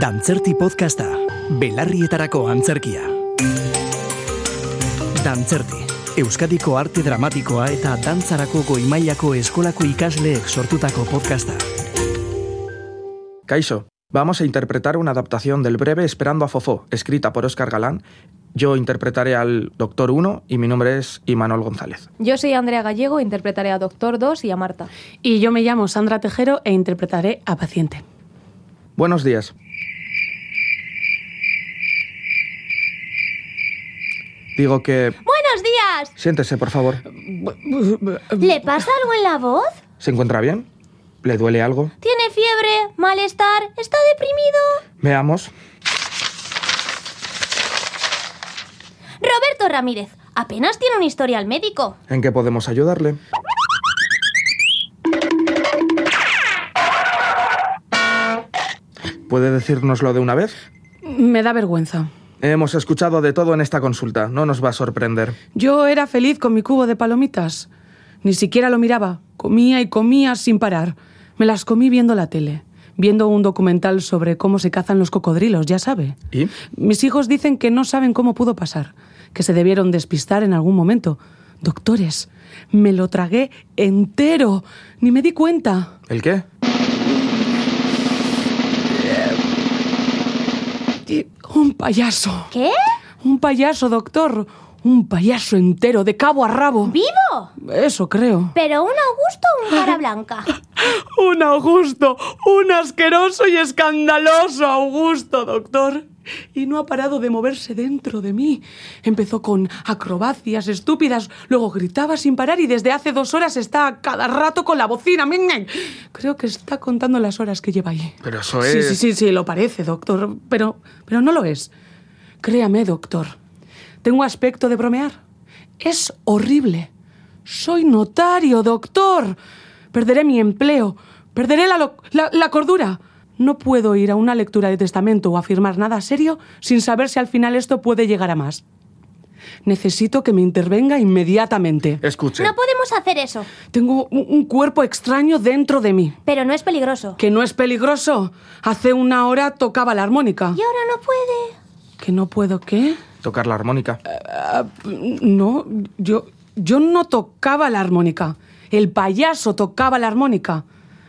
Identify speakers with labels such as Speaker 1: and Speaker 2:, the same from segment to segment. Speaker 1: Dantzerti podcasta, belarrietarako antzerkia. Dantzerti, Euskadiko arte dramatikoa eta dantzarako goimailako eskolako ikasleek sortutako podcasta.
Speaker 2: Kaiso, vamos a interpretar una adaptación del breve Esperando a Fofó, escrita por Óscar Galán. Yo interpretaré al Doctor 1 y mi nombre es Imanol González.
Speaker 3: Yo soy Andrea Gallego, interpretaré a Doctor 2 y a Marta.
Speaker 4: Y yo me llamo Sandra Tejero e interpretaré a paciente.
Speaker 2: Buenos días. Digo que...
Speaker 5: Buenos días.
Speaker 2: Siéntese, por favor.
Speaker 5: ¿Le pasa algo en la voz?
Speaker 2: ¿Se encuentra bien? ¿Le duele algo?
Speaker 5: ¿Tiene fiebre? ¿Malestar? ¿Está deprimido?
Speaker 2: Veamos.
Speaker 5: Roberto Ramírez, apenas tiene un historial médico.
Speaker 2: ¿En qué podemos ayudarle? ¿Puede decírnoslo de una vez?
Speaker 4: Me da vergüenza.
Speaker 2: Hemos escuchado de todo en esta consulta. No nos va a sorprender.
Speaker 4: Yo era feliz con mi cubo de palomitas. Ni siquiera lo miraba. Comía y comía sin parar. Me las comí viendo la tele, viendo un documental sobre cómo se cazan los cocodrilos, ya sabe.
Speaker 2: ¿Y?
Speaker 4: Mis hijos dicen que no saben cómo pudo pasar, que se debieron despistar en algún momento. Doctores, me lo tragué entero. Ni me di cuenta.
Speaker 2: ¿El qué?
Speaker 4: Y- Un payaso.
Speaker 5: ¿Qué?
Speaker 4: Un payaso, doctor. Un payaso entero, de cabo a rabo.
Speaker 5: ¿Vivo?
Speaker 4: Eso creo.
Speaker 5: ¿Pero un Augusto o un cara blanca?
Speaker 4: Un Augusto, un asqueroso y escandaloso Augusto, doctor. Y no ha parado de moverse dentro de mí. Empezó con acrobacias estúpidas, luego gritaba sin parar y desde hace dos horas está a cada rato con la bocina. Ming, ming. Creo que está contando las horas que lleva allí.
Speaker 2: Pero eso
Speaker 4: Sí,
Speaker 2: es-
Speaker 4: sí, sí, sí, lo parece, doctor, pero, pero no lo es. Créame, doctor, tengo aspecto de bromear. Es horrible. Soy notario, doctor. Perderé mi empleo, perderé la, lo- la- la cordura. No puedo ir a una lectura de testamento o a firmar nada serio sin saber si al final esto puede llegar a más. Necesito que me intervenga inmediatamente.
Speaker 2: Escuche.
Speaker 5: No podemos hacer eso.
Speaker 4: Tengo un- un cuerpo extraño dentro de mí.
Speaker 5: Pero no es peligroso.
Speaker 4: Que no es peligroso. Hace una hora tocaba la armónica.
Speaker 5: Y ahora no puede.
Speaker 4: ¿Que no puedo qué?
Speaker 2: Tocar la armónica.
Speaker 4: No, yo, yo no tocaba la armónica. El payaso tocaba la armónica.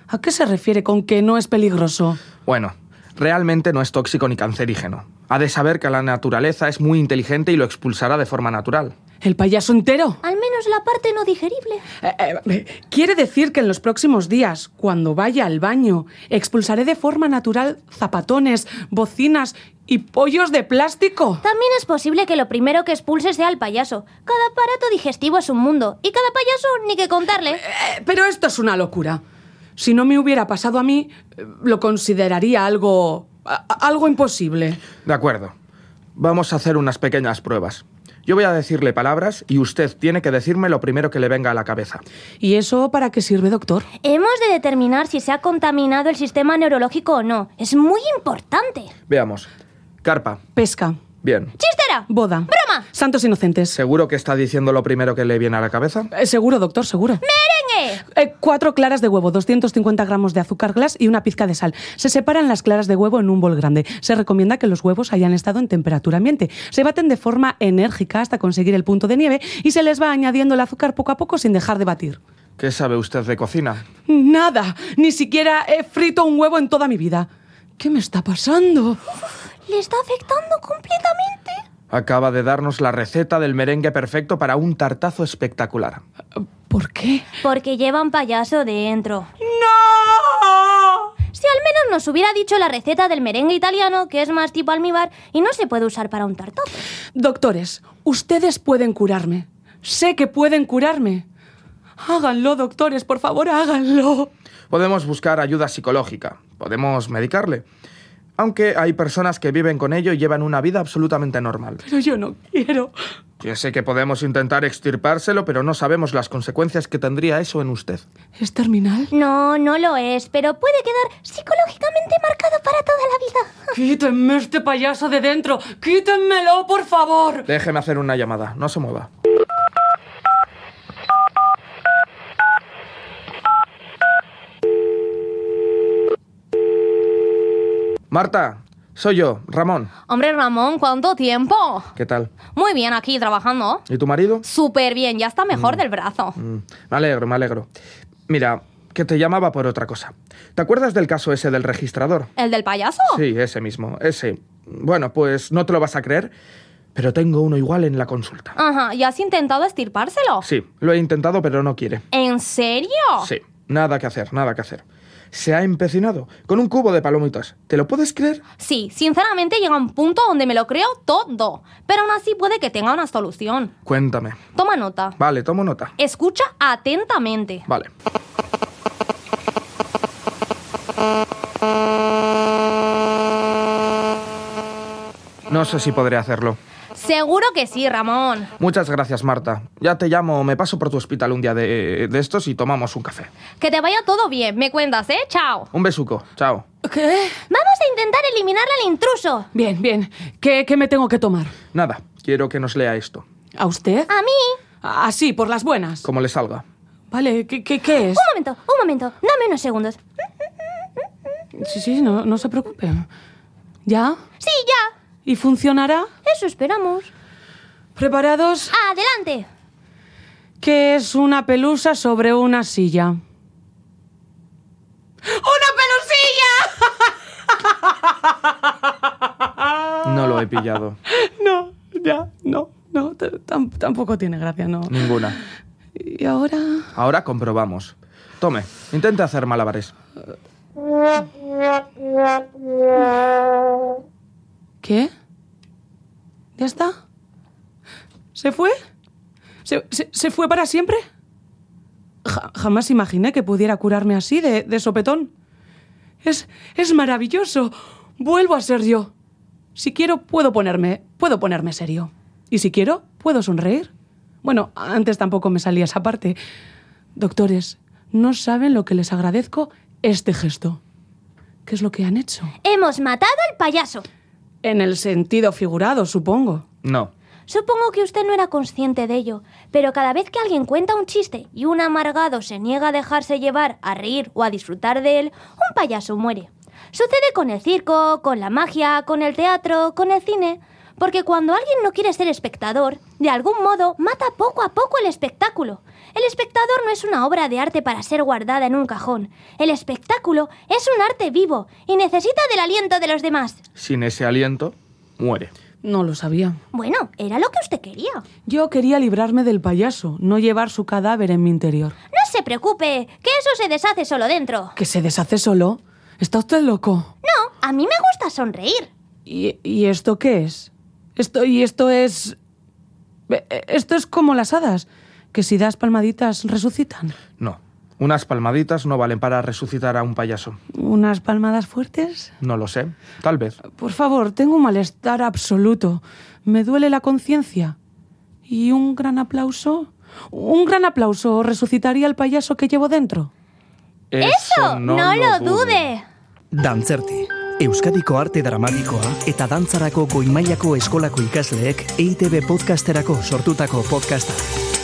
Speaker 4: ¿A qué se refiere con que no es peligroso?
Speaker 2: Bueno, realmente no es tóxico ni cancerígeno. Ha de saber que la naturaleza es muy inteligente y lo expulsará de forma natural.
Speaker 4: ¿El payaso entero?
Speaker 5: Al menos la parte no digerible.
Speaker 4: Eh, eh, quiere decir que en los próximos días, cuando vaya al baño, expulsaré de forma natural zapatones, bocinas y pollos de plástico.
Speaker 5: También es posible que lo primero que expulse sea el payaso. Cada aparato digestivo es un mundo. Y cada payaso, ni que contarle.
Speaker 4: Eh, Pero esto es una locura. Si no me hubiera pasado a mí, eh, lo consideraría algo... a- a- algo imposible.
Speaker 2: De acuerdo. Vamos a hacer unas pequeñas pruebas. Yo voy a decirle palabras y usted tiene que decirme lo primero que le venga a la cabeza.
Speaker 4: ¿Y eso para qué sirve, doctor?
Speaker 5: Hemos de determinar si se ha contaminado el sistema neurológico o no. Es muy importante.
Speaker 2: Veamos. Carpa.
Speaker 4: Pesca,
Speaker 2: Bien.
Speaker 5: ¡Chistera!
Speaker 4: boda.
Speaker 5: ¡Broma!
Speaker 4: Santos inocentes.
Speaker 2: ¿Seguro que está diciendo lo primero que le viene a la cabeza?
Speaker 4: Eh, seguro, doctor, seguro.
Speaker 5: ¡Merengue!
Speaker 4: Eh, cuatro claras de huevo, 250 gramos de azúcar glass y una pizca de sal. Se separan las claras de huevo en un bol grande. Se recomienda que los huevos hayan estado en temperatura ambiente. Se baten de forma enérgica hasta conseguir el punto de nieve y se les va añadiendo el azúcar poco a poco sin dejar de batir.
Speaker 2: ¿Qué sabe usted de cocina?
Speaker 4: Nada, ni siquiera he frito un huevo en toda mi vida. ¿Qué me está pasando?
Speaker 5: Le está afectando completamente.
Speaker 2: Acaba de darnos la receta del merengue perfecto para un tartazo espectacular.
Speaker 4: ¿Por qué?
Speaker 5: Porque lleva un payaso dentro. Si al menos nos hubiera dicho la receta del merengue italiano, que es más tipo almíbar y no se puede usar para un tartazo.
Speaker 4: Doctores, ustedes pueden curarme. Sé que pueden curarme. Háganlo, doctores, por favor, háganlo.
Speaker 2: Podemos buscar ayuda psicológica, podemos medicarle. Aunque hay personas que viven con ello y llevan una vida absolutamente normal.
Speaker 4: Pero yo no quiero.
Speaker 2: Yo sé que podemos intentar extirpárselo, pero no sabemos las consecuencias que tendría eso en usted.
Speaker 4: ¿Es terminal?
Speaker 5: No, no lo es, pero puede quedar psicológicamente marcado para toda la vida.
Speaker 4: Quítenme este payaso de dentro. Quítenmelo, por favor.
Speaker 2: Déjeme hacer una llamada, no se mueva. Marta, Soy yo, Ramón.
Speaker 5: Hombre, Ramón, ¿cuánto tiempo?
Speaker 2: ¿Qué tal?
Speaker 5: Muy bien aquí trabajando.
Speaker 2: ¿Y tu marido?
Speaker 5: Súper bien, ya está mejor del brazo.
Speaker 2: Mm, Me alegro, me alegro. Mira, que te llamaba por otra cosa. ¿Te acuerdas del caso ese del registrador?
Speaker 5: ¿El del payaso?
Speaker 2: Sí, ese mismo, ese. Bueno, pues no te lo vas a creer, pero tengo uno igual en la consulta.
Speaker 5: Ajá, ¿y has intentado estirpárselo?
Speaker 2: Sí, lo he intentado, pero no quiere.
Speaker 5: ¿En serio?
Speaker 2: Sí, nada que hacer, nada que hacer. Se ha empecinado con un cubo de palomitas. ¿Te lo puedes creer?
Speaker 5: Sí, sinceramente llega un punto donde me lo creo todo, pero aún así puede que tenga una solución.
Speaker 2: Cuéntame.
Speaker 5: Toma nota.
Speaker 2: Vale, tomo nota.
Speaker 5: Escucha atentamente.
Speaker 2: Vale. No sé si podré hacerlo.
Speaker 5: Seguro que sí, Ramón.
Speaker 2: Muchas gracias, Marta. Ya te llamo, me paso por tu hospital un día de, de estos y tomamos un café.
Speaker 5: Que te vaya todo bien, me cuentas, ¿eh? Chao.
Speaker 2: Un besuco, chao.
Speaker 4: ¿Qué?
Speaker 5: Vamos a intentar eliminarle al intruso.
Speaker 4: Bien, bien. ¿Qué, qué me tengo que tomar?
Speaker 2: Nada, quiero que nos lea esto,
Speaker 4: ¿A usted?
Speaker 5: A mí.
Speaker 4: Así, por las buenas.
Speaker 2: como le salga.
Speaker 4: Vale, ¿qué, qué, qué es?
Speaker 5: Un momento, un momento. Dame unos segundos.
Speaker 4: Sí, sí, no, no se preocupe. ¿Ya?
Speaker 5: Sí, ya.
Speaker 4: ¿Y funcionará?
Speaker 5: Eso esperamos.
Speaker 4: ¿Preparados?
Speaker 5: Adelante.
Speaker 4: ¿Qué es una pelusa sobre una silla? ¡Una pelusilla!
Speaker 2: No lo he pillado.
Speaker 4: No, ya, no, no, t- tam- tampoco tiene gracia, no.
Speaker 2: Ninguna.
Speaker 4: Y ahora...
Speaker 2: Ahora comprobamos. Tome, intente hacer malabares.
Speaker 4: ¿Qué? ¿Ya está? ¿Se fue? ¿Se, se- se fue para siempre? Ja- jamás imaginé que pudiera curarme así de, de sopetón. Es, es maravilloso. Vuelvo a ser yo. Si quiero, puedo ponerme, puedo ponerme serio. Y si quiero, puedo sonreír. Bueno, antes tampoco me salía esa parte. Doctores, no saben lo que les agradezco este gesto. ¿Qué es lo que han hecho?
Speaker 5: Hemos matado al payaso.
Speaker 4: En el sentido figurado, supongo.
Speaker 2: No.
Speaker 5: Supongo que usted no era consciente de ello, pero cada vez que alguien cuenta un chiste y un amargado se niega a dejarse llevar, a reír o a disfrutar de él, un payaso muere. Sucede con el circo, con la magia, con el teatro, con el cine, porque cuando alguien no quiere ser espectador, de algún modo mata poco a poco el espectáculo. El espectador no es una obra de arte para ser guardada en un cajón. El espectáculo es un arte vivo y necesita del aliento de los demás.
Speaker 2: Sin ese aliento, muere.
Speaker 4: No lo sabía.
Speaker 5: Bueno, era lo que usted quería.
Speaker 4: Yo quería librarme del payaso, no llevar su cadáver en mi interior.
Speaker 5: No se preocupe, que eso se deshace solo dentro.
Speaker 4: ¿Que se deshace solo? ¿Está usted loco?
Speaker 5: No, a mí me gusta sonreír.
Speaker 4: ¿Y, y esto qué es? Esto, y esto es... e- e- Esto es como las hadas, que si das palmaditas resucitan.
Speaker 2: No. Unas palmaditas no valen para resucitar a un payaso.
Speaker 4: ¿Unas palmadas fuertes?
Speaker 2: No lo sé. Tal vez.
Speaker 4: Por favor, tengo un malestar absoluto. Me duele la conciencia. ¿Y un gran aplauso? ¿Un gran aplauso resucitaría al payaso que llevo dentro?
Speaker 5: ¡Eso! ¡No, lo dude!
Speaker 1: Dantzerti, Euskadiko arte dramatikoa eta E dantzarako goimailako eskolako ikasleek EITB podcasterako sortutako podcasta.